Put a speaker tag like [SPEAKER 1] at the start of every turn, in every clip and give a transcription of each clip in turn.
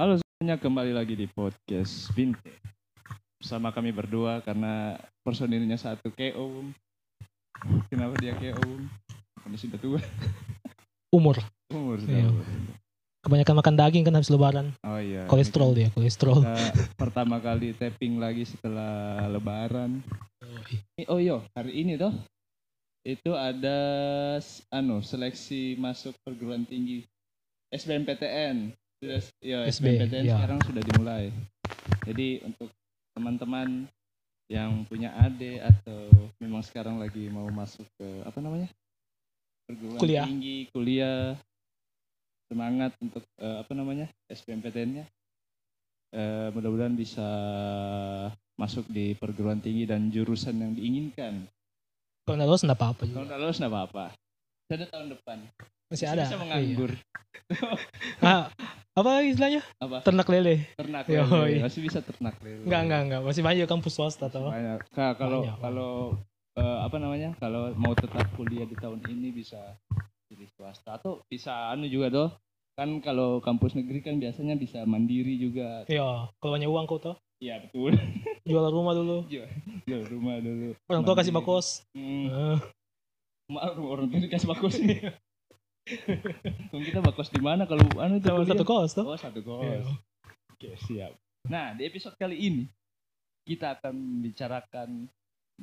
[SPEAKER 1] Halo semuanya, kembali lagi di podcast Binte. Sama kami berdua karena personilnya satu KO. Kenapa dia KO? Karena sudah tua.
[SPEAKER 2] Umur.
[SPEAKER 1] Umur sudah.
[SPEAKER 2] Iya.
[SPEAKER 1] tua.
[SPEAKER 2] Kebanyakan makan daging kan habis lebaran.
[SPEAKER 1] Oh iya. ini
[SPEAKER 2] Kolesterol dia,
[SPEAKER 1] kan
[SPEAKER 2] kolesterol.
[SPEAKER 1] Kita pertama kali tapping lagi setelah lebaran.
[SPEAKER 2] Yoi.
[SPEAKER 1] Eh, Oh iya, hari ini toh itu ada s- anu seleksi masuk perguruan tinggi SBMPTN. Sudah s- ya
[SPEAKER 2] SB,
[SPEAKER 1] SBMPTN
[SPEAKER 2] ya.
[SPEAKER 1] sekarang sudah dimulai. Jadi untuk teman-teman yang punya adik atau memang sekarang lagi mau masuk ke apa namanya? perguruan
[SPEAKER 2] Kuliah.
[SPEAKER 1] tinggi, kuliah semangat untuk eh, apa namanya? SBMPTN-nya. Eh, mudah-mudahan bisa masuk di perguruan tinggi dan jurusan yang diinginkan.
[SPEAKER 2] Kalau nggak lulus nggak apa-apa
[SPEAKER 1] Kalau
[SPEAKER 2] juga.
[SPEAKER 1] nggak lulus nggak apa-apa. Ada tahun depan.
[SPEAKER 2] Iya. Masih ada.
[SPEAKER 1] Bisa
[SPEAKER 2] Iya.
[SPEAKER 1] menganggur.
[SPEAKER 2] Ah, apa istilahnya?
[SPEAKER 1] Apa?
[SPEAKER 2] Ternak lele.
[SPEAKER 1] Ternak
[SPEAKER 2] Yoi.
[SPEAKER 1] lele. Masih bisa ternak lele.
[SPEAKER 2] Enggak, enggak, enggak. Masih banyak kampus swasta
[SPEAKER 1] Masih
[SPEAKER 2] tau.
[SPEAKER 1] Banyak. Kak, kalau
[SPEAKER 2] Gitu. Banyak.
[SPEAKER 1] kalau eh, apa namanya? Kalau mau tetap kuliah di tahun ini bisa pilih swasta atau bisa anu juga toh. Kan kalau kampus negeri kan biasanya bisa mandiri juga.
[SPEAKER 2] Iya, kalau banyak uang kau tau.
[SPEAKER 1] Iya betul.
[SPEAKER 2] Jual rumah dulu.
[SPEAKER 1] Jual rumah dulu.
[SPEAKER 2] Orang tua kasih
[SPEAKER 1] Mandiri.
[SPEAKER 2] bakos.
[SPEAKER 1] Hmm,
[SPEAKER 2] Eh,
[SPEAKER 1] maaf orang tua dikasih bakos nih. Kalau kita bakos di mana kalau anu tuh
[SPEAKER 2] Sama
[SPEAKER 1] kuliah?
[SPEAKER 2] satu kos tau.
[SPEAKER 1] Oh satu kos.
[SPEAKER 2] Iya.
[SPEAKER 1] Oke, siap. Nah, di episode kali ini kita akan membicarakan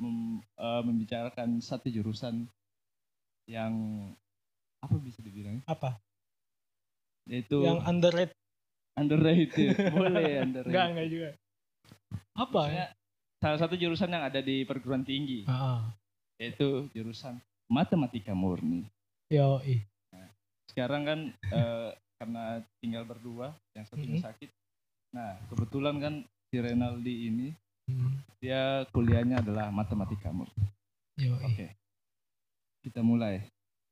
[SPEAKER 1] mem- eh, membicarakan satu jurusan yang apa bisa dibilang
[SPEAKER 2] Apa?
[SPEAKER 1] yaitu
[SPEAKER 2] Yang underrated.
[SPEAKER 1] underrated. Boleh underrated.
[SPEAKER 2] Enggak, enggak juga. Apa Ah, ya?
[SPEAKER 1] Maksudnya, salah satu jurusan yang ada di perguruan tinggi
[SPEAKER 2] Heeh.
[SPEAKER 1] yaitu jurusan matematika murni.
[SPEAKER 2] Yoi.
[SPEAKER 1] Sekarang kan eh, karena tinggal berdua, yang satunya
[SPEAKER 2] Mhm.
[SPEAKER 1] sakit. Nah, kebetulan kan si Renaldi ini dia kuliahnya adalah matematika murni.
[SPEAKER 2] Yoi.
[SPEAKER 1] Oke. Kita mulai.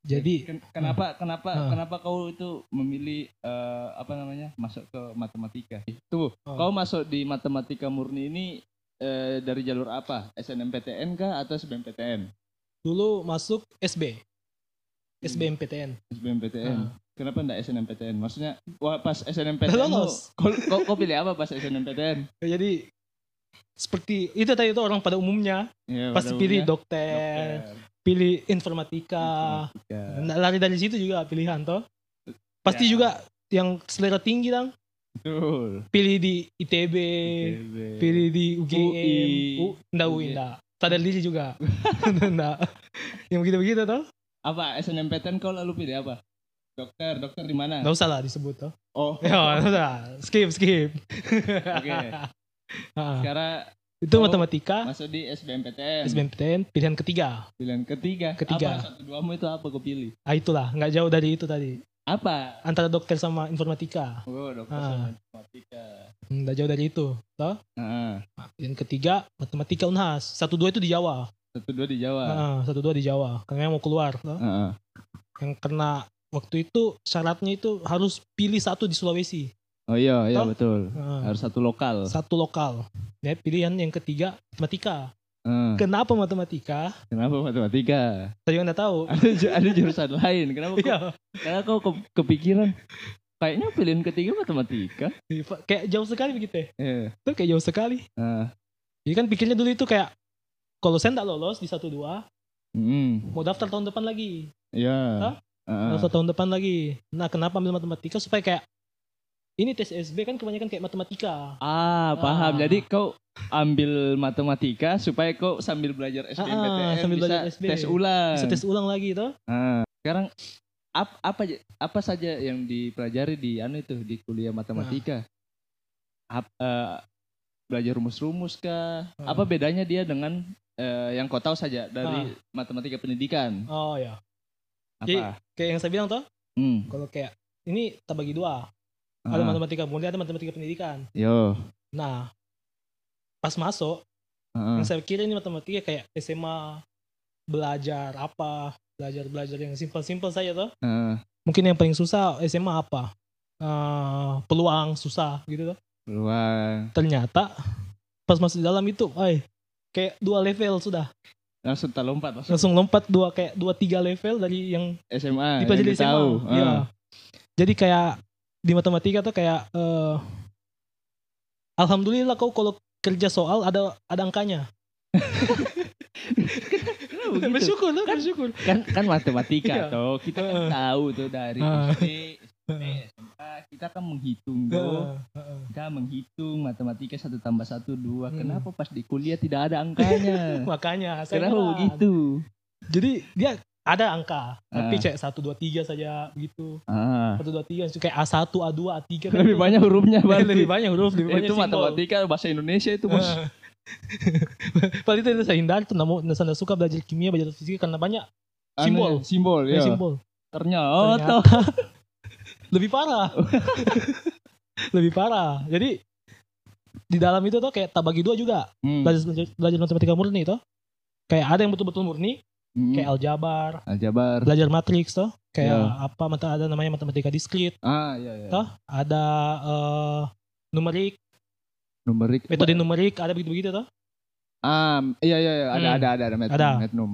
[SPEAKER 2] Jadi
[SPEAKER 1] Ken- kenapa kenapa
[SPEAKER 2] Ah.
[SPEAKER 1] kenapa kau itu memilih eh, apa namanya? masuk ke matematika? Tuh,
[SPEAKER 2] Oh.
[SPEAKER 1] kau masuk di matematika murni ini eh, dari jalur apa? SNMPTN kah atau SBMPTN?
[SPEAKER 2] dulu masuk SB. SBMPTN.
[SPEAKER 1] SBMPTN.
[SPEAKER 2] Ah.
[SPEAKER 1] Kenapa enggak SNMPTN? Maksudnya wah, pas SNMPTN
[SPEAKER 2] Nggak
[SPEAKER 1] lu-
[SPEAKER 2] lolos.
[SPEAKER 1] Kau, kau, kau pilih apa pas SNMPTN?
[SPEAKER 2] Ya, jadi seperti itu tadi itu orang pada umumnya
[SPEAKER 1] Ya,
[SPEAKER 2] pasti
[SPEAKER 1] pada
[SPEAKER 2] pilih
[SPEAKER 1] umumnya,
[SPEAKER 2] dokter, pilih informatika.
[SPEAKER 1] Informatika.
[SPEAKER 2] Nggak lari dari situ juga pilihan toh. Pasti
[SPEAKER 1] Ya.
[SPEAKER 2] juga yang selera tinggi dong
[SPEAKER 1] Betul.
[SPEAKER 2] pilih di ITB,
[SPEAKER 1] ITB.
[SPEAKER 2] pilih di UGM,
[SPEAKER 1] UI.
[SPEAKER 2] U, nggak UI
[SPEAKER 1] UGM.
[SPEAKER 2] nggak. Sadar diri juga. Nggak. yang begitu-begitu toh.
[SPEAKER 1] apa SNMPTN kau lalu pilih apa? Dokter, dokter di mana?
[SPEAKER 2] Nggak usah lah disebut toh.
[SPEAKER 1] Oh,
[SPEAKER 2] Ya, nggak usah. Skip, skip.
[SPEAKER 1] Oke. Ya.
[SPEAKER 2] Ah,
[SPEAKER 1] Sekarang
[SPEAKER 2] itu
[SPEAKER 1] Kamu-
[SPEAKER 2] matematika,
[SPEAKER 1] masuk di SBMPTN.
[SPEAKER 2] SBMPTN, pilihan ketiga.
[SPEAKER 1] Pilihan ketiga.
[SPEAKER 2] Ketiga.
[SPEAKER 1] Apa satu duamu itu apa kau pilih?
[SPEAKER 2] Ah itulah, nggak jauh dari itu tadi.
[SPEAKER 1] Apa?
[SPEAKER 2] Antara dokter sama informatika.
[SPEAKER 1] Oh, dokter
[SPEAKER 2] Ah.
[SPEAKER 1] sama matematika.
[SPEAKER 2] Hmm, Nggak jauh dari itu. Toh?
[SPEAKER 1] Ah,
[SPEAKER 2] Ah, Pilihan ketiga, matematika unhas. Satu dua itu di Jawa.
[SPEAKER 1] satu dua di Jawa.
[SPEAKER 2] Ah, satu dua di Jawa. Karena yang mau keluar. toh.
[SPEAKER 1] Ah, ah.
[SPEAKER 2] yang kena waktu itu syaratnya itu harus pilih satu di Sulawesi
[SPEAKER 1] Oh iya, iya
[SPEAKER 2] Toh?
[SPEAKER 1] betul.
[SPEAKER 2] Nah,
[SPEAKER 1] Harus satu lokal.
[SPEAKER 2] satu lokal ya pilihan yang ketiga matematika
[SPEAKER 1] Ah,
[SPEAKER 2] kenapa matematika
[SPEAKER 1] Kenapa matematika?
[SPEAKER 2] saya juga nggak tahu
[SPEAKER 1] Ada, ju- ada jurusan lain. Kenapa? Kau,
[SPEAKER 2] Iya.
[SPEAKER 1] karena kau ke- kepikiran. Kayaknya pilihan ketiga matematika.
[SPEAKER 2] kayak jauh sekali begitu ya
[SPEAKER 1] Eh,
[SPEAKER 2] itu kayak jauh sekali
[SPEAKER 1] ah,
[SPEAKER 2] jadi kan pikirnya dulu itu kayak kalau saya nggak lolos di satu dua
[SPEAKER 1] mm,
[SPEAKER 2] mau daftar tahun depan lagi
[SPEAKER 1] ya.
[SPEAKER 2] Toh?
[SPEAKER 1] Ah, ah.
[SPEAKER 2] daftar Nah, tahun depan lagi nah kenapa ambil matematika supaya kayak ini tes SB kan kebanyakan kayak matematika
[SPEAKER 1] Ah, paham.
[SPEAKER 2] Ah.
[SPEAKER 1] Jadi kau ambil matematika supaya kau sambil belajar SBMPTN
[SPEAKER 2] Ah, sambil
[SPEAKER 1] bisa
[SPEAKER 2] belajar SB.
[SPEAKER 1] tes ulang.
[SPEAKER 2] bisa tes ulang lagi toh
[SPEAKER 1] Ah, sekarang ap- apa aja- apa saja yang dipelajari di anu itu di kuliah matematika? Ap- eh, belajar rumus-rumus kah?
[SPEAKER 2] Ah.
[SPEAKER 1] Apa bedanya dia dengan eh, yang kau tahu saja dari matematika pendidikan?
[SPEAKER 2] oh ya Iya.
[SPEAKER 1] Apa?
[SPEAKER 2] kayak yang saya bilang toh
[SPEAKER 1] Hmm.
[SPEAKER 2] kalau kayak ini tak bagi dua ada
[SPEAKER 1] Ah,
[SPEAKER 2] matematika murni ada matematika pendidikan
[SPEAKER 1] Yo.
[SPEAKER 2] nah pas masuk
[SPEAKER 1] Ah,
[SPEAKER 2] yang saya kira ini matematika kayak SMA belajar apa belajar belajar yang simpel simpel saja toh
[SPEAKER 1] ah,
[SPEAKER 2] mungkin yang paling susah SMA apa Eh, peluang susah gitu toh
[SPEAKER 1] Peluang.
[SPEAKER 2] ternyata pas masuk di dalam itu ay kayak dua level sudah
[SPEAKER 1] Langsung tak lompat langsung
[SPEAKER 2] langsung lompat dua kayak dua tiga level dari yang
[SPEAKER 1] SMA. Ah, yang
[SPEAKER 2] dipelajari
[SPEAKER 1] dia
[SPEAKER 2] SMA
[SPEAKER 1] tahu.
[SPEAKER 2] Iya.
[SPEAKER 1] Ah,
[SPEAKER 2] jadi kayak di matematika tuh kayak eh, alhamdulillah kau kalau kerja soal ada ada angkanya.
[SPEAKER 1] Kenapa begitu?
[SPEAKER 2] Bersyukur tuh, bersyukur.
[SPEAKER 1] Oh, gitu? kan kan matematika
[SPEAKER 2] Iya. Eh.
[SPEAKER 1] toh kita kan
[SPEAKER 2] Heeh.
[SPEAKER 1] tahu tuh dari
[SPEAKER 2] Heeh.
[SPEAKER 1] SD SMP SMK kita kan menghitung tuh
[SPEAKER 2] Heeh, heeh.
[SPEAKER 1] kita menghitung matematika satu tambah satu dua
[SPEAKER 2] Hmm.
[SPEAKER 1] kenapa pas di kuliah tidak ada angkanya
[SPEAKER 2] Makanya saya
[SPEAKER 1] kenapa
[SPEAKER 2] bilang.
[SPEAKER 1] begitu
[SPEAKER 2] Jadi dia ada angka, tapi
[SPEAKER 1] Ah.
[SPEAKER 2] cek 1 2 3 saja gitu. begitu.
[SPEAKER 1] ah
[SPEAKER 2] 1 2 3 kayak A1, A2, A3 kan
[SPEAKER 1] lebih
[SPEAKER 2] itu.
[SPEAKER 1] banyak hurufnya berarti
[SPEAKER 2] lebih banyak huruf, lebih banyak
[SPEAKER 1] itu
[SPEAKER 2] simbol.
[SPEAKER 1] matematika bahasa Indonesia itu bos
[SPEAKER 2] Ah. Paling itu yang saya hindari tuh namun saya suka belajar kimia, belajar fisika karena banyak
[SPEAKER 1] Anu,
[SPEAKER 2] simbol.
[SPEAKER 1] simbol ya
[SPEAKER 2] simbol.
[SPEAKER 1] ternyata
[SPEAKER 2] lebih parah lebih parah jadi di dalam itu tuh kayak tak bagi dua juga
[SPEAKER 1] Hmm,
[SPEAKER 2] belajar belajar, belajar matematika murni itu kayak ada yang betul-betul murni
[SPEAKER 1] hmm,
[SPEAKER 2] kayak aljabar
[SPEAKER 1] aljabar
[SPEAKER 2] belajar matriks tuh kayak
[SPEAKER 1] Ya.
[SPEAKER 2] apa mata ada namanya matematika diskrit
[SPEAKER 1] ah ya ya
[SPEAKER 2] Toh? ada eh, numerik
[SPEAKER 1] numerik
[SPEAKER 2] metode numerik ada begitu-begitu tuh
[SPEAKER 1] ah iya iya iya, ada
[SPEAKER 2] Hmm.
[SPEAKER 1] ada ada ada metnum,
[SPEAKER 2] Ada.
[SPEAKER 1] metnum.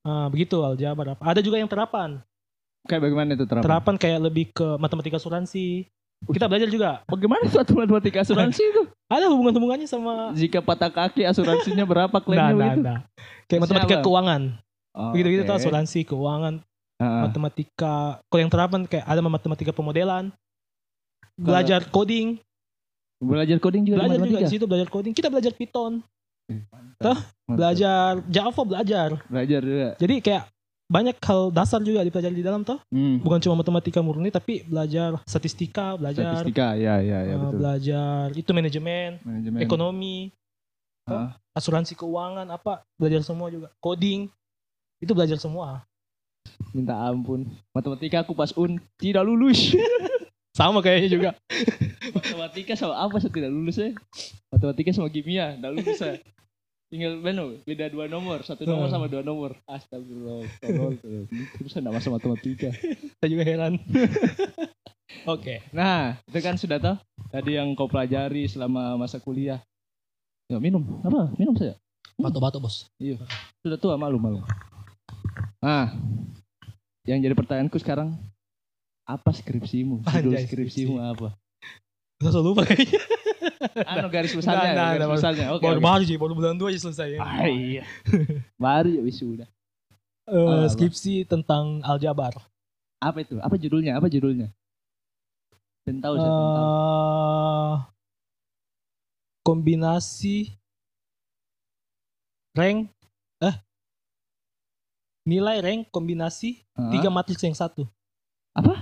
[SPEAKER 2] Ah, begitu aljabar apa. ada juga yang terapan
[SPEAKER 1] kayak bagaimana itu terapan
[SPEAKER 2] terapan kayak lebih ke matematika asuransi kita belajar juga
[SPEAKER 1] Bagaimana suatu matematika asuransi itu?
[SPEAKER 2] ada hubungan-hubungannya sama
[SPEAKER 1] Jika patah kaki asuransinya berapa
[SPEAKER 2] nah,
[SPEAKER 1] klaimnya
[SPEAKER 2] nah,
[SPEAKER 1] begitu?
[SPEAKER 2] nah.
[SPEAKER 1] Terusnya
[SPEAKER 2] kayak matematika
[SPEAKER 1] apa?
[SPEAKER 2] keuangan
[SPEAKER 1] Oh,
[SPEAKER 2] begitu-begitu
[SPEAKER 1] oke.
[SPEAKER 2] tuh asuransi keuangan
[SPEAKER 1] Ah,
[SPEAKER 2] matematika kalau yang terapan kayak ada matematika pemodelan
[SPEAKER 1] Kalau-
[SPEAKER 2] belajar coding
[SPEAKER 1] belajar coding juga
[SPEAKER 2] belajar
[SPEAKER 1] di
[SPEAKER 2] juga
[SPEAKER 1] matematika.
[SPEAKER 2] di situ belajar coding kita belajar Python
[SPEAKER 1] Mantap.
[SPEAKER 2] belajar Java belajar
[SPEAKER 1] Hmm, Belajar juga.
[SPEAKER 2] jadi kayak banyak hal dasar juga dipelajari di dalam toh
[SPEAKER 1] Hmm.
[SPEAKER 2] bukan cuma matematika murni tapi belajar statistika belajar
[SPEAKER 1] Statistika, ya ya ya
[SPEAKER 2] eh,
[SPEAKER 1] betul.
[SPEAKER 2] belajar itu manajemen
[SPEAKER 1] Manajemen.
[SPEAKER 2] ekonomi toh,
[SPEAKER 1] Ah.
[SPEAKER 2] asuransi keuangan apa belajar semua juga coding itu belajar semua
[SPEAKER 1] Minta ampun. Matematika aku pas un tidak lulus.
[SPEAKER 2] sama kayaknya juga
[SPEAKER 1] matematika sama apa saya tidak lulus ya? Matematika sama kimia tidak lulus saya. Tinggal beno, beda dua nomor, satu nomor
[SPEAKER 2] Ah.
[SPEAKER 1] sama dua nomor. Astagfirullah, tolol. tuh. Terus saya tidak masuk matematika.
[SPEAKER 2] saya juga heran oke
[SPEAKER 1] Nah, itu kan sudah tahu tadi yang kau pelajari selama masa kuliah. Ya, minum. Apa? Minum saya.
[SPEAKER 2] batuk-batuk bos
[SPEAKER 1] Sudah tua, malu, malu. Nah, yang jadi pertanyaanku sekarang, apa skripsimu? Judul
[SPEAKER 2] Anjay,
[SPEAKER 1] skripsimu apa?
[SPEAKER 2] Gak usah lupa kayaknya.
[SPEAKER 1] Anu garis besarnya,
[SPEAKER 2] Nah, nah,
[SPEAKER 1] garis
[SPEAKER 2] nah,
[SPEAKER 1] besarnya. Oke.
[SPEAKER 2] baru
[SPEAKER 1] oke.
[SPEAKER 2] baru sih, baru bulan 2 aja selesai. ya.
[SPEAKER 1] Ah, iya. Baru ya wisuda.
[SPEAKER 2] Eh, skripsi tentang aljabar.
[SPEAKER 1] Apa itu? Apa judulnya? Apa judulnya? Dan
[SPEAKER 2] Oh, iya,
[SPEAKER 1] tahu saya tentang.
[SPEAKER 2] Eh, kombinasi rank eh nilai rank kombinasi
[SPEAKER 1] Ah,
[SPEAKER 2] Eh, tiga matriks yang satu.
[SPEAKER 1] Apa?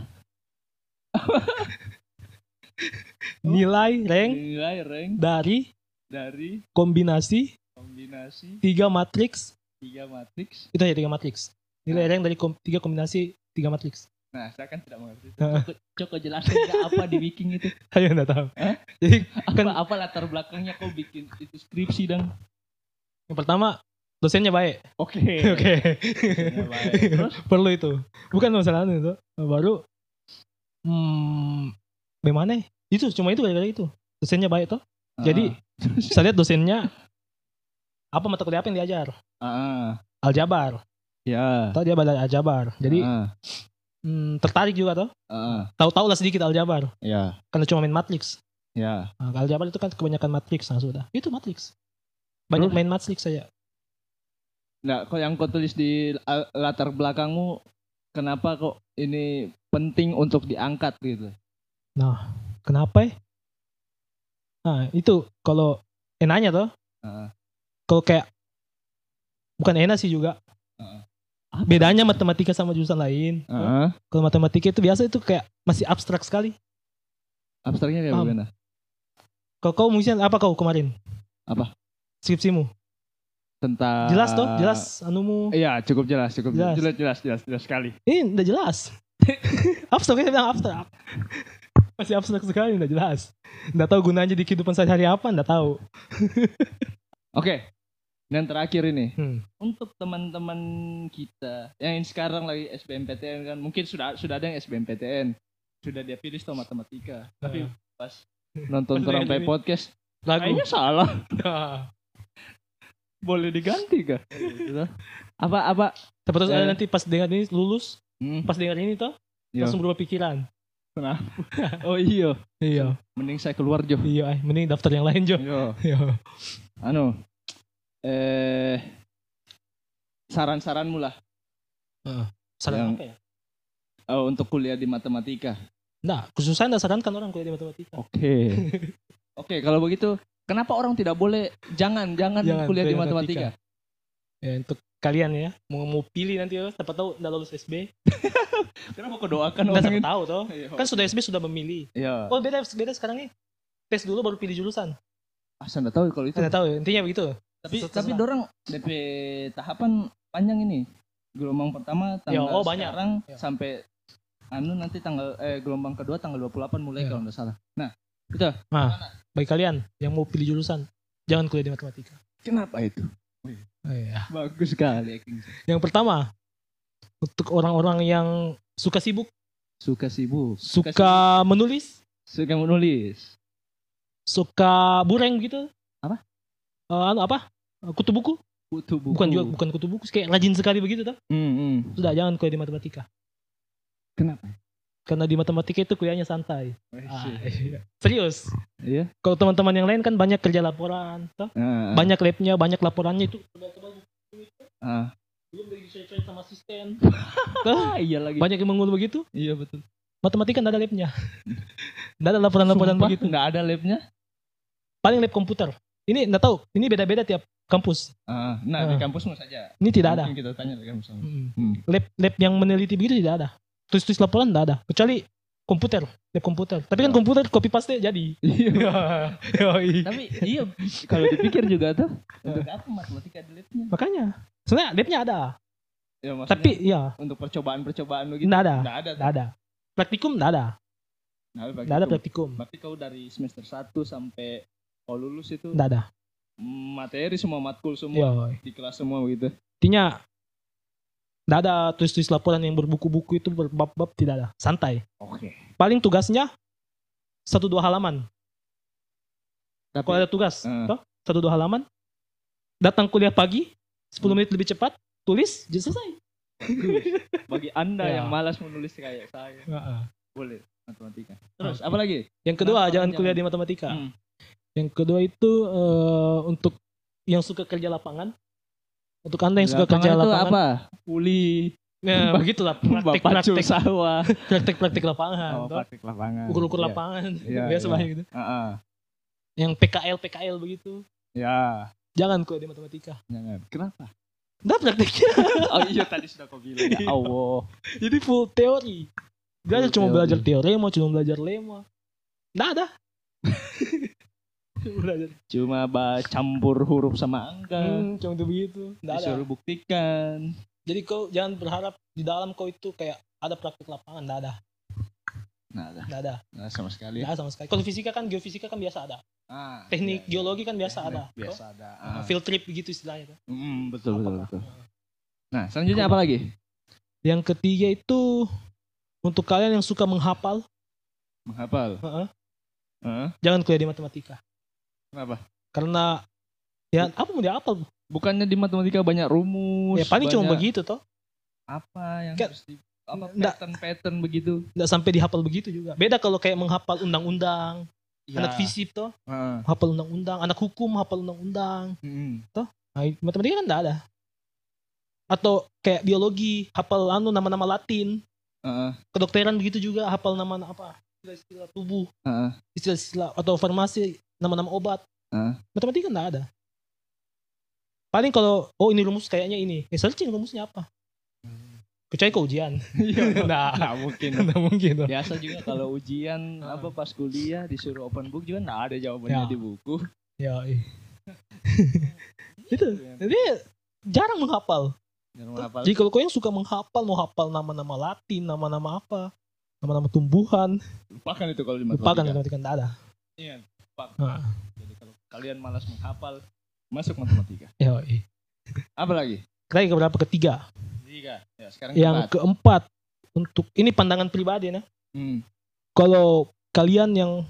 [SPEAKER 2] nilai rank
[SPEAKER 1] nilai Ah, rank
[SPEAKER 2] dari
[SPEAKER 1] dari
[SPEAKER 2] kombinasi
[SPEAKER 1] kombinasi
[SPEAKER 2] tiga matriks
[SPEAKER 1] tiga matriks
[SPEAKER 2] itu ya tiga matriks. Nilai rank dari kom- tiga kombinasi tiga matriks.
[SPEAKER 1] Nah, saya kan tidak mengerti.
[SPEAKER 2] Heeh.
[SPEAKER 1] Cok, Cok, kau jelaskan nggak apa di Wiking itu?
[SPEAKER 2] Ayo nggak tahu.
[SPEAKER 1] Hah?
[SPEAKER 2] Jadi
[SPEAKER 1] Apa,
[SPEAKER 2] Kan-
[SPEAKER 1] apa latar belakangnya kau bikin itu skripsi dong?
[SPEAKER 2] yang pertama dosennya baik.
[SPEAKER 1] Oke.
[SPEAKER 2] Oke.
[SPEAKER 1] Ya, baik. Terus
[SPEAKER 2] Perlu itu. Bukan masalah itu. Baru hmm bagaimana? Itu cuma itu gara-gara itu. Dosennya baik toh. Jadi saya lihat dosennya apa mata kuliah apa yang diajar?
[SPEAKER 1] ah, ah,
[SPEAKER 2] Aljabar.
[SPEAKER 1] ya.
[SPEAKER 2] Tahu dia belajar aljabar. Jadi
[SPEAKER 1] ah,
[SPEAKER 2] hmm, tertarik juga toh.
[SPEAKER 1] ah,
[SPEAKER 2] Tahu-tahu lah sedikit aljabar.
[SPEAKER 1] ya,
[SPEAKER 2] Karena cuma main matriks.
[SPEAKER 1] ya.
[SPEAKER 2] Nah, aljabar itu kan kebanyakan matriks nah sudah. Itu matriks. Banyak main matriks saya.
[SPEAKER 1] Nah, kok yang kau tulis di al- latar belakangmu kenapa kok ini penting untuk diangkat gitu?
[SPEAKER 2] Kenapa ya? Nah, itu kalau enaknya toh.
[SPEAKER 1] Ah.
[SPEAKER 2] Kalau kayak bukan enak sih juga.
[SPEAKER 1] Ah.
[SPEAKER 2] Bedanya matematika sama jurusan lain.
[SPEAKER 1] Ah,
[SPEAKER 2] Kalau matematika itu biasa itu kayak masih abstrak sekali.
[SPEAKER 1] abstraknya kayak
[SPEAKER 2] Paham.
[SPEAKER 1] bagaimana?
[SPEAKER 2] Kalau kau mungkin apa kau kemarin?
[SPEAKER 1] Apa? Ah.
[SPEAKER 2] Skripsimu.
[SPEAKER 1] Tentang
[SPEAKER 2] Jelas toh, jelas anumu.
[SPEAKER 1] Iya, cukup jelas, cukup jelas, jelas,
[SPEAKER 2] Jelas.
[SPEAKER 1] jelas, jelas, jelas sekali.
[SPEAKER 2] Ini udah jelas. abstrak saya bilang abstrak. Masih abstrak sekali, udah jelas. Nggak tahu gunanya di kehidupan sehari-hari apa, nggak tahu.
[SPEAKER 1] Oke. Dan terakhir ini,
[SPEAKER 2] Hmm.
[SPEAKER 1] untuk teman-teman kita yang sekarang lagi SBMPTN kan mungkin sudah sudah ada yang SBMPTN sudah dia pilih tuh matematika tapi pas nonton
[SPEAKER 2] Pas
[SPEAKER 1] orang
[SPEAKER 2] dengar
[SPEAKER 1] play
[SPEAKER 2] ini.
[SPEAKER 1] podcast
[SPEAKER 2] Lagu.
[SPEAKER 1] kayaknya salah boleh diganti kah Gitu. apa apa
[SPEAKER 2] Tapi terus ada
[SPEAKER 1] Eh.
[SPEAKER 2] nanti pas dengar ini lulus,
[SPEAKER 1] hmm,
[SPEAKER 2] pas dengar ini toh
[SPEAKER 1] Iya.
[SPEAKER 2] langsung berubah pikiran.
[SPEAKER 1] Kenapa? Oh iya,
[SPEAKER 2] Iya.
[SPEAKER 1] mending saya keluar Jo.
[SPEAKER 2] Iya, ay. mending daftar yang lain, Jo.
[SPEAKER 1] Yo,
[SPEAKER 2] Iya.
[SPEAKER 1] anu, eh saran-saranmu lah Yang-
[SPEAKER 2] Saran apa ya?
[SPEAKER 1] eh, untuk kuliah di matematika.
[SPEAKER 2] Nah, khusus saya nggak sarankan orang kuliah di matematika.
[SPEAKER 1] Oke. Oke, kalau begitu, kenapa orang tidak boleh jangan jangan,
[SPEAKER 2] Jangan,
[SPEAKER 1] Kan kuliah di
[SPEAKER 2] Iya kan, kuliah
[SPEAKER 1] matematika?
[SPEAKER 2] Ya, untuk kalian ya, mau mau pilih nanti ya, siapa tahu nggak lulus SB,
[SPEAKER 1] Kenapa kau doakan
[SPEAKER 2] nggak
[SPEAKER 1] Kan orang
[SPEAKER 2] siapa
[SPEAKER 1] itu?
[SPEAKER 2] tahu toh.
[SPEAKER 1] Iya.
[SPEAKER 2] Kan sudah SB sudah memilih.
[SPEAKER 1] Iya.
[SPEAKER 2] Oh beda beda sekarang nih. Tes dulu baru pilih jurusan.
[SPEAKER 1] Ah, saya nggak tahu kalau itu.
[SPEAKER 2] Nggak tahu ya, intinya begitu.
[SPEAKER 1] Tapi
[SPEAKER 2] Terserah.
[SPEAKER 1] tapi dorang DP tahapan panjang ini. Gelombang pertama tanggal
[SPEAKER 2] Iya, oh, banyak.
[SPEAKER 1] sekarang
[SPEAKER 2] Iya.
[SPEAKER 1] sampai anu nanti tanggal eh gelombang kedua tanggal 28 mulai
[SPEAKER 2] Iya.
[SPEAKER 1] kalau nggak salah. Nah,
[SPEAKER 2] Bagi kalian yang mau pilih jurusan, jangan kuliah di matematika.
[SPEAKER 1] kenapa itu?
[SPEAKER 2] Oh, iya.
[SPEAKER 1] Bagus sekali. King.
[SPEAKER 2] Yang pertama, untuk orang-orang yang suka sibuk,
[SPEAKER 1] Suka sibuk,
[SPEAKER 2] suka,
[SPEAKER 1] sibuk,
[SPEAKER 2] menulis,
[SPEAKER 1] suka menulis.
[SPEAKER 2] suka bureng gitu.
[SPEAKER 1] Apa?
[SPEAKER 2] Eh, anu apa? Eh, Kutu buku?
[SPEAKER 1] Kutu buku.
[SPEAKER 2] Bukan juga bukan kutu buku, kayak rajin sekali begitu tuh.
[SPEAKER 1] Hmm, hmm.
[SPEAKER 2] Sudah jangan kuliah di matematika.
[SPEAKER 1] Kenapa?
[SPEAKER 2] Karena di matematika itu kuliahnya santai. Ah,
[SPEAKER 1] Ah,
[SPEAKER 2] iya. Serius.
[SPEAKER 1] Iya.
[SPEAKER 2] Kalau teman-teman yang lain kan banyak kerja laporan, toh.
[SPEAKER 1] Ah,
[SPEAKER 2] banyak labnya, banyak laporannya itu.
[SPEAKER 1] ah.
[SPEAKER 2] Hmm. Belum lagi disesuaikan sama asisten.
[SPEAKER 1] Ah, iya lagi.
[SPEAKER 2] Banyak yang mengeluh begitu.
[SPEAKER 1] Iya betul.
[SPEAKER 2] Matematika nggak ada labnya. Nggak ada laporan-laporan
[SPEAKER 1] Sumpah,
[SPEAKER 2] begitu.
[SPEAKER 1] nggak ada labnya.
[SPEAKER 2] Paling lab komputer. Ini nggak tahu. Ini beda-beda tiap kampus.
[SPEAKER 1] Ah, nah di
[SPEAKER 2] Ah.
[SPEAKER 1] kampusmu saja.
[SPEAKER 2] Ini tidak ada.
[SPEAKER 1] Mungkin kita tanya di kampusmu.
[SPEAKER 2] Mm.
[SPEAKER 1] Hmm.
[SPEAKER 2] Lab lab yang meneliti begitu tidak ada. Tulis-tulis laporan nggak ada. Kecuali komputer, lab komputer. Tapi kan
[SPEAKER 1] Oh.
[SPEAKER 2] komputer copy paste jadi.
[SPEAKER 1] Iya.
[SPEAKER 2] Yoi.
[SPEAKER 1] Tapi iya kalau dipikir juga tuh untuk apa matematika di labnya?
[SPEAKER 2] Makanya. Sebenarnya labnya ada,
[SPEAKER 1] Ya, maksudnya
[SPEAKER 2] tapi ya
[SPEAKER 1] untuk percobaan-percobaan begitu
[SPEAKER 2] nggak ada,
[SPEAKER 1] enggak ada.
[SPEAKER 2] nggak ada. Praktikum nggak ada,
[SPEAKER 1] Nah, bagi
[SPEAKER 2] nggak ada
[SPEAKER 1] itu,
[SPEAKER 2] praktikum,
[SPEAKER 1] berarti kau dari semester 1 sampai kau lulus itu
[SPEAKER 2] nggak Iya. ada.
[SPEAKER 1] materi semua matkul semua
[SPEAKER 2] Yoi.
[SPEAKER 1] di kelas semua begitu.
[SPEAKER 2] Intinya nggak ada tulis-tulis laporan yang berbuku-buku itu berbab-bab tidak ada, santai.
[SPEAKER 1] Oke.
[SPEAKER 2] Paling tugasnya satu dua halaman.
[SPEAKER 1] Tapi
[SPEAKER 2] Kalau ada tugas,
[SPEAKER 1] Eh.
[SPEAKER 2] toh, satu dua halaman. Datang kuliah pagi, 10 menit lebih cepat, tulis, jadi selesai.
[SPEAKER 1] bagi Anda
[SPEAKER 2] Ya.
[SPEAKER 1] yang malas menulis kayak saya boleh matematika. Terus apa lagi?
[SPEAKER 2] Yang kedua,
[SPEAKER 1] Kenapa
[SPEAKER 2] jangan
[SPEAKER 1] jangan-
[SPEAKER 2] kuliah di matematika.
[SPEAKER 1] Hmm.
[SPEAKER 2] Yang kedua itu eh, untuk yang suka kerja lapangan. Untuk Anda yang suka
[SPEAKER 1] Lapangan
[SPEAKER 2] kerja
[SPEAKER 1] itu
[SPEAKER 2] lapangan.
[SPEAKER 1] apa? Kuli,
[SPEAKER 2] Nah, begitulah
[SPEAKER 1] pacu
[SPEAKER 2] praktik-praktik
[SPEAKER 1] sawah,
[SPEAKER 2] praktik-praktik lapangan,
[SPEAKER 1] Oh,
[SPEAKER 2] toh.
[SPEAKER 1] praktik lapangan.
[SPEAKER 2] ukur-ukur
[SPEAKER 1] Iya.
[SPEAKER 2] lapangan,
[SPEAKER 1] Iya,
[SPEAKER 2] biasa
[SPEAKER 1] iya.
[SPEAKER 2] banyak gitu.
[SPEAKER 1] Heeh.
[SPEAKER 2] Yang PKL PKL begitu,
[SPEAKER 1] Ya,
[SPEAKER 2] jangan kuliah di matematika.
[SPEAKER 1] jangan. Kenapa?
[SPEAKER 2] Nah praktiknya,
[SPEAKER 1] Oh iya tadi sudah kau bilang. Ya
[SPEAKER 2] Iya.
[SPEAKER 1] Allah.
[SPEAKER 2] jadi full teori. Belajar
[SPEAKER 1] Full
[SPEAKER 2] cuma
[SPEAKER 1] teori.
[SPEAKER 2] belajar teorema, cuma belajar lema. Nah, ada. Cuma belajar.
[SPEAKER 1] Cuma ba- campur huruf sama angka.
[SPEAKER 2] Hmm, cuma itu begitu. Nggak ada.
[SPEAKER 1] Disuruh buktikan.
[SPEAKER 2] Jadi kau jangan berharap di dalam kau itu kayak ada praktik lapangan, nggak ada,
[SPEAKER 1] Nah, dah.
[SPEAKER 2] nggak ada,
[SPEAKER 1] Nah, sama sekali.
[SPEAKER 2] nggak ada sama sekali. Kalau fisika kan geofisika kan biasa ada,
[SPEAKER 1] Ah,
[SPEAKER 2] teknik
[SPEAKER 1] iya, iya.
[SPEAKER 2] geologi kan biasa
[SPEAKER 1] Teknik
[SPEAKER 2] ada,
[SPEAKER 1] Biasa ada.
[SPEAKER 2] Nah,
[SPEAKER 1] Ah.
[SPEAKER 2] field trip begitu istilahnya. kan. tuh.
[SPEAKER 1] Mm, betul, betul,
[SPEAKER 2] Apakah?
[SPEAKER 1] betul. Nah, selanjutnya apa lagi?
[SPEAKER 2] Yang ketiga itu untuk kalian yang suka menghafal,
[SPEAKER 1] Menghafal.
[SPEAKER 2] Heeh.
[SPEAKER 1] Heeh.
[SPEAKER 2] jangan kuliah di matematika.
[SPEAKER 1] Kenapa?
[SPEAKER 2] Karena ya apa mau dihafal?
[SPEAKER 1] Bukannya di matematika banyak rumus.
[SPEAKER 2] Ya paling cuma
[SPEAKER 1] banyak
[SPEAKER 2] begitu toh.
[SPEAKER 1] Apa yang
[SPEAKER 2] Nggak-
[SPEAKER 1] harus di apa
[SPEAKER 2] nggak.
[SPEAKER 1] pattern-pattern begitu.
[SPEAKER 2] Nggak sampai dihafal begitu juga. Beda kalau kayak menghafal undang-undang,
[SPEAKER 1] Iya.
[SPEAKER 2] anak fisip toh,
[SPEAKER 1] Ya. Heeh.
[SPEAKER 2] hafal undang-undang, anak hukum hafal undang-undang.
[SPEAKER 1] Mm.
[SPEAKER 2] Nah, itu matematika kan nggak ada. Atau kayak biologi, hafal anu nama-nama Latin,
[SPEAKER 1] Heeh.
[SPEAKER 2] kedokteran begitu juga hafal nama apa istilah-istilah tubuh,
[SPEAKER 1] Heeh.
[SPEAKER 2] istilah-istilah atau farmasi, nama-nama obat.
[SPEAKER 1] Heeh.
[SPEAKER 2] Matematika nggak ada. Paling kalau oh ini rumus kayaknya ini, eh searching rumusnya apa? Kecuali ke ujian.
[SPEAKER 1] Iya.
[SPEAKER 2] nah,
[SPEAKER 1] Nah, mungkin.
[SPEAKER 2] nggak mungkin. loh.
[SPEAKER 1] Biasa juga kalau ujian apa pas kuliah disuruh open book juga nggak ada jawabannya
[SPEAKER 2] Ah. Ya.
[SPEAKER 1] di buku.
[SPEAKER 2] Ya, iya. itu. Jadi jarang menghafal.
[SPEAKER 1] Jangan menghafal.
[SPEAKER 2] Jadi kalau kau yang suka menghafal, mau hafal nama-nama Latin, nama-nama apa, nama-nama tumbuhan,
[SPEAKER 1] Lupakan itu kalau di matematika.
[SPEAKER 2] lupakan matematika nggak ada.
[SPEAKER 1] Iya, lupakan.
[SPEAKER 2] Ah.
[SPEAKER 1] Jadi kalau kalian malas menghafal, masuk matematika.
[SPEAKER 2] Ya, iya.
[SPEAKER 1] Apa lagi?
[SPEAKER 2] Kita ke berapa ketiga?
[SPEAKER 1] Tiga. Ya, sekarang
[SPEAKER 2] Yang
[SPEAKER 1] keempat.
[SPEAKER 2] keempat untuk ini pandangan pribadi nah.
[SPEAKER 1] Hmm.
[SPEAKER 2] Kalau kalian yang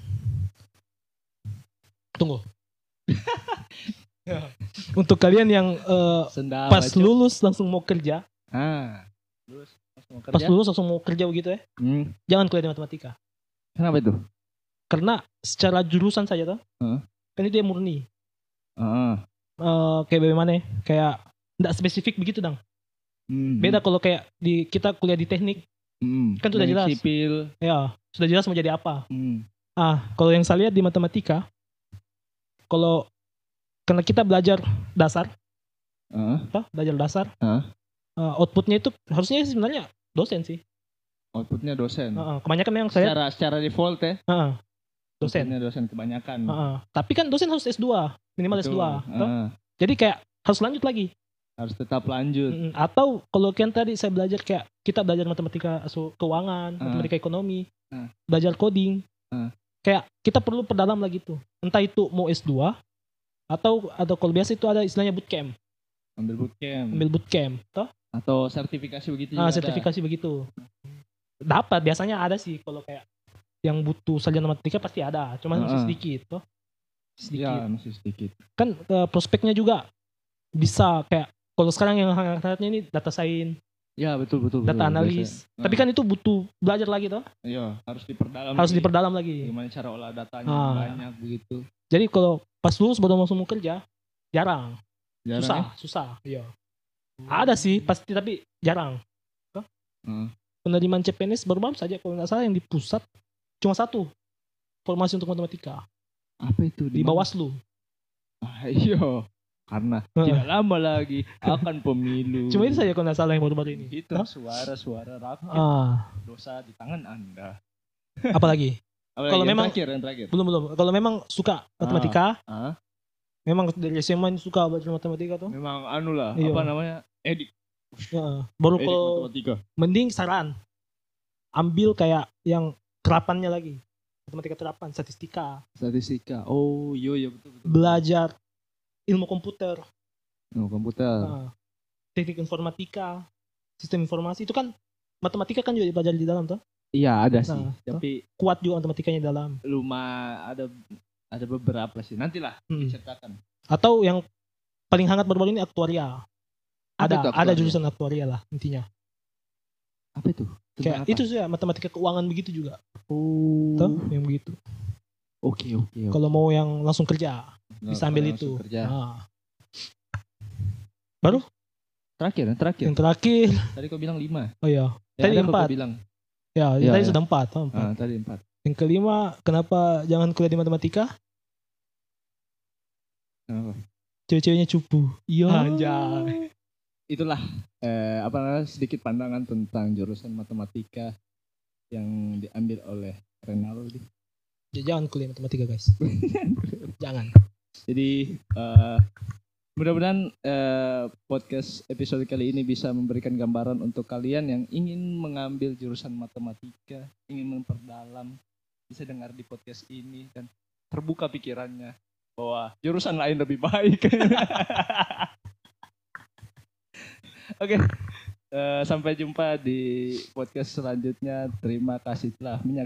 [SPEAKER 2] tunggu. Ya. Untuk kalian yang eh,
[SPEAKER 1] Sendal.
[SPEAKER 2] pas
[SPEAKER 1] baju.
[SPEAKER 2] lulus langsung mau kerja,
[SPEAKER 1] Ah. Lulus. Pas mau kerja.
[SPEAKER 2] pas lulus langsung mau kerja begitu ya,
[SPEAKER 1] Hmm.
[SPEAKER 2] jangan kuliah di matematika.
[SPEAKER 1] Kenapa itu?
[SPEAKER 2] karena secara jurusan saja toh
[SPEAKER 1] Heeh.
[SPEAKER 2] kan itu dia murni
[SPEAKER 1] Heeh.
[SPEAKER 2] Eh, kayak bagaimana ya, kayak tidak spesifik begitu dong
[SPEAKER 1] Mhm.
[SPEAKER 2] beda kalau kayak di kita kuliah di teknik
[SPEAKER 1] Mhm.
[SPEAKER 2] Kan sudah
[SPEAKER 1] Teknik
[SPEAKER 2] jelas.
[SPEAKER 1] Sipil.
[SPEAKER 2] ya sudah jelas mau jadi apa
[SPEAKER 1] Mhm.
[SPEAKER 2] ah kalau yang saya lihat di matematika kalau karena kita belajar dasar
[SPEAKER 1] Heeh.
[SPEAKER 2] toh belajar dasar
[SPEAKER 1] Heeh.
[SPEAKER 2] eh, outputnya itu harusnya sih sebenarnya dosen sih
[SPEAKER 1] Outputnya dosen.
[SPEAKER 2] Heeh, kebanyakan yang Ah, saya
[SPEAKER 1] Secara secara default ya.
[SPEAKER 2] heeh, dosen
[SPEAKER 1] Outputnya dosen ya. kebanyakan.
[SPEAKER 2] Heeh. tapi kan dosen harus S2 minimal
[SPEAKER 1] Betul.
[SPEAKER 2] S2 toh.
[SPEAKER 1] Heeh.
[SPEAKER 2] jadi kayak harus lanjut lagi
[SPEAKER 1] Harus tetap lanjut.
[SPEAKER 2] Mm, atau kalau kan tadi saya belajar kayak kita belajar matematika so, keuangan,
[SPEAKER 1] Ah.
[SPEAKER 2] matematika ekonomi,
[SPEAKER 1] Ah.
[SPEAKER 2] belajar coding.
[SPEAKER 1] Ah.
[SPEAKER 2] Kayak kita perlu perdalam lagi tuh. Entah itu mau S2 atau atau kalau biasa itu ada istilahnya bootcamp,
[SPEAKER 1] Ambil bootcamp
[SPEAKER 2] Hmm. ambil bootcamp, toh?
[SPEAKER 1] atau sertifikasi begitu
[SPEAKER 2] Ah,
[SPEAKER 1] juga Iya, ada.
[SPEAKER 2] sertifikasi begitu. Dapat biasanya ada sih kalau kayak yang butuh sarjana matematika pasti ada, cuman masih
[SPEAKER 1] Ah.
[SPEAKER 2] sedikit, toh? Sedikit.
[SPEAKER 1] Ya, masih sedikit.
[SPEAKER 2] Kan eh, prospeknya juga bisa kayak kalau sekarang yang hangat-hangatnya ini data science,
[SPEAKER 1] Ya, betul betul.
[SPEAKER 2] data
[SPEAKER 1] betul.
[SPEAKER 2] analis.
[SPEAKER 1] Biasa.
[SPEAKER 2] Tapi kan itu butuh belajar lagi toh,
[SPEAKER 1] Iya, harus diperdalam.
[SPEAKER 2] harus
[SPEAKER 1] lagi.
[SPEAKER 2] diperdalam lagi.
[SPEAKER 1] Gimana cara olah datanya
[SPEAKER 2] Ah.
[SPEAKER 1] banyak begitu.
[SPEAKER 2] Jadi kalau pas lulus baru langsung mau kerja, jarang,
[SPEAKER 1] Jarang
[SPEAKER 2] susah,
[SPEAKER 1] ya?
[SPEAKER 2] susah. Iya. Ada sih pasti tapi jarang. Toh?
[SPEAKER 1] Hmm.
[SPEAKER 2] Penerimaan CPNS baru baru saja kalau nggak salah yang di pusat cuma satu formasi untuk matematika
[SPEAKER 1] Apa itu?
[SPEAKER 2] di
[SPEAKER 1] mana?
[SPEAKER 2] Bawaslu.
[SPEAKER 1] Ayo, karena
[SPEAKER 2] Heeh.
[SPEAKER 1] tidak lama lagi akan pemilu.
[SPEAKER 2] Ah. Cuma itu saja kalau nggak salah yang baru-baru ini.
[SPEAKER 1] Itu
[SPEAKER 2] Toh?
[SPEAKER 1] suara-suara rakyat
[SPEAKER 2] Ah,
[SPEAKER 1] dosa di tangan Anda.
[SPEAKER 2] apalagi
[SPEAKER 1] Apalagi
[SPEAKER 2] Kalau
[SPEAKER 1] yang
[SPEAKER 2] memang-
[SPEAKER 1] terakhir, yang terakhir.
[SPEAKER 2] belum belum. Kalau memang suka matematika,
[SPEAKER 1] Ah,
[SPEAKER 2] memang dari SMA suka belajar matematika tuh.
[SPEAKER 1] memang anu lah,
[SPEAKER 2] Iya.
[SPEAKER 1] apa namanya? Edik,
[SPEAKER 2] Ya, baru
[SPEAKER 1] edik
[SPEAKER 2] kalau
[SPEAKER 1] matematika.
[SPEAKER 2] mending saran ambil kayak yang terapannya lagi matematika terapan
[SPEAKER 1] Hmm.
[SPEAKER 2] statistika
[SPEAKER 1] Statistika. Oh, iya iya betul betul.
[SPEAKER 2] belajar ilmu komputer
[SPEAKER 1] Oh, komputer.
[SPEAKER 2] nah, teknik informatika sistem informasi itu kan matematika kan juga belajar di dalam tuh
[SPEAKER 1] Iya, ada sih.
[SPEAKER 2] Nah,
[SPEAKER 1] Tapi
[SPEAKER 2] kuat juga matematikanya di dalam
[SPEAKER 1] luma ada ada beberapa sih. Nantilah
[SPEAKER 2] Hmm.
[SPEAKER 1] diceritakan.
[SPEAKER 2] atau yang paling hangat baru-baru ini aktuaria
[SPEAKER 1] Apa
[SPEAKER 2] ada
[SPEAKER 1] itu
[SPEAKER 2] ada
[SPEAKER 1] aktuaria?
[SPEAKER 2] jurusan aktuaria lah intinya
[SPEAKER 1] Apa itu? Tentang
[SPEAKER 2] kayak
[SPEAKER 1] apa?
[SPEAKER 2] itu sih ya matematika keuangan begitu juga
[SPEAKER 1] Oh.
[SPEAKER 2] tuh yang begitu
[SPEAKER 1] Oke, oke. oke.
[SPEAKER 2] kalau mau yang langsung kerja
[SPEAKER 1] Nah,
[SPEAKER 2] bisa ambil
[SPEAKER 1] kalau
[SPEAKER 2] itu
[SPEAKER 1] langsung Kerja.
[SPEAKER 2] Nah,
[SPEAKER 1] Terakhir, yang terakhir.
[SPEAKER 2] yang terakhir
[SPEAKER 1] Tadi kau bilang lima.
[SPEAKER 2] oh ya Tadi
[SPEAKER 1] ada kok
[SPEAKER 2] empat.
[SPEAKER 1] Kau bilang.
[SPEAKER 2] Ya,
[SPEAKER 1] Ya,
[SPEAKER 2] tadi
[SPEAKER 1] ya.
[SPEAKER 2] sudah empat, oh, empat.
[SPEAKER 1] Ah, tadi empat.
[SPEAKER 2] Yang kelima, kenapa jangan kuliah di matematika?
[SPEAKER 1] Kenapa?
[SPEAKER 2] Cewek-ceweknya cupu.
[SPEAKER 1] Iya.
[SPEAKER 2] Anjay.
[SPEAKER 1] Itulah eh, apa namanya sedikit pandangan tentang jurusan matematika yang diambil oleh Renaldi.
[SPEAKER 2] Ya, jangan kuliah matematika, guys. jangan.
[SPEAKER 1] Jadi eh, mudah-mudahan eh, podcast episode kali ini bisa memberikan gambaran untuk kalian yang ingin mengambil jurusan matematika, ingin memperdalam, bisa dengar di podcast ini dan terbuka pikirannya bahwa jurusan lain lebih baik. Oke, eh, sampai jumpa di podcast selanjutnya. Terima kasih telah menyaksikan.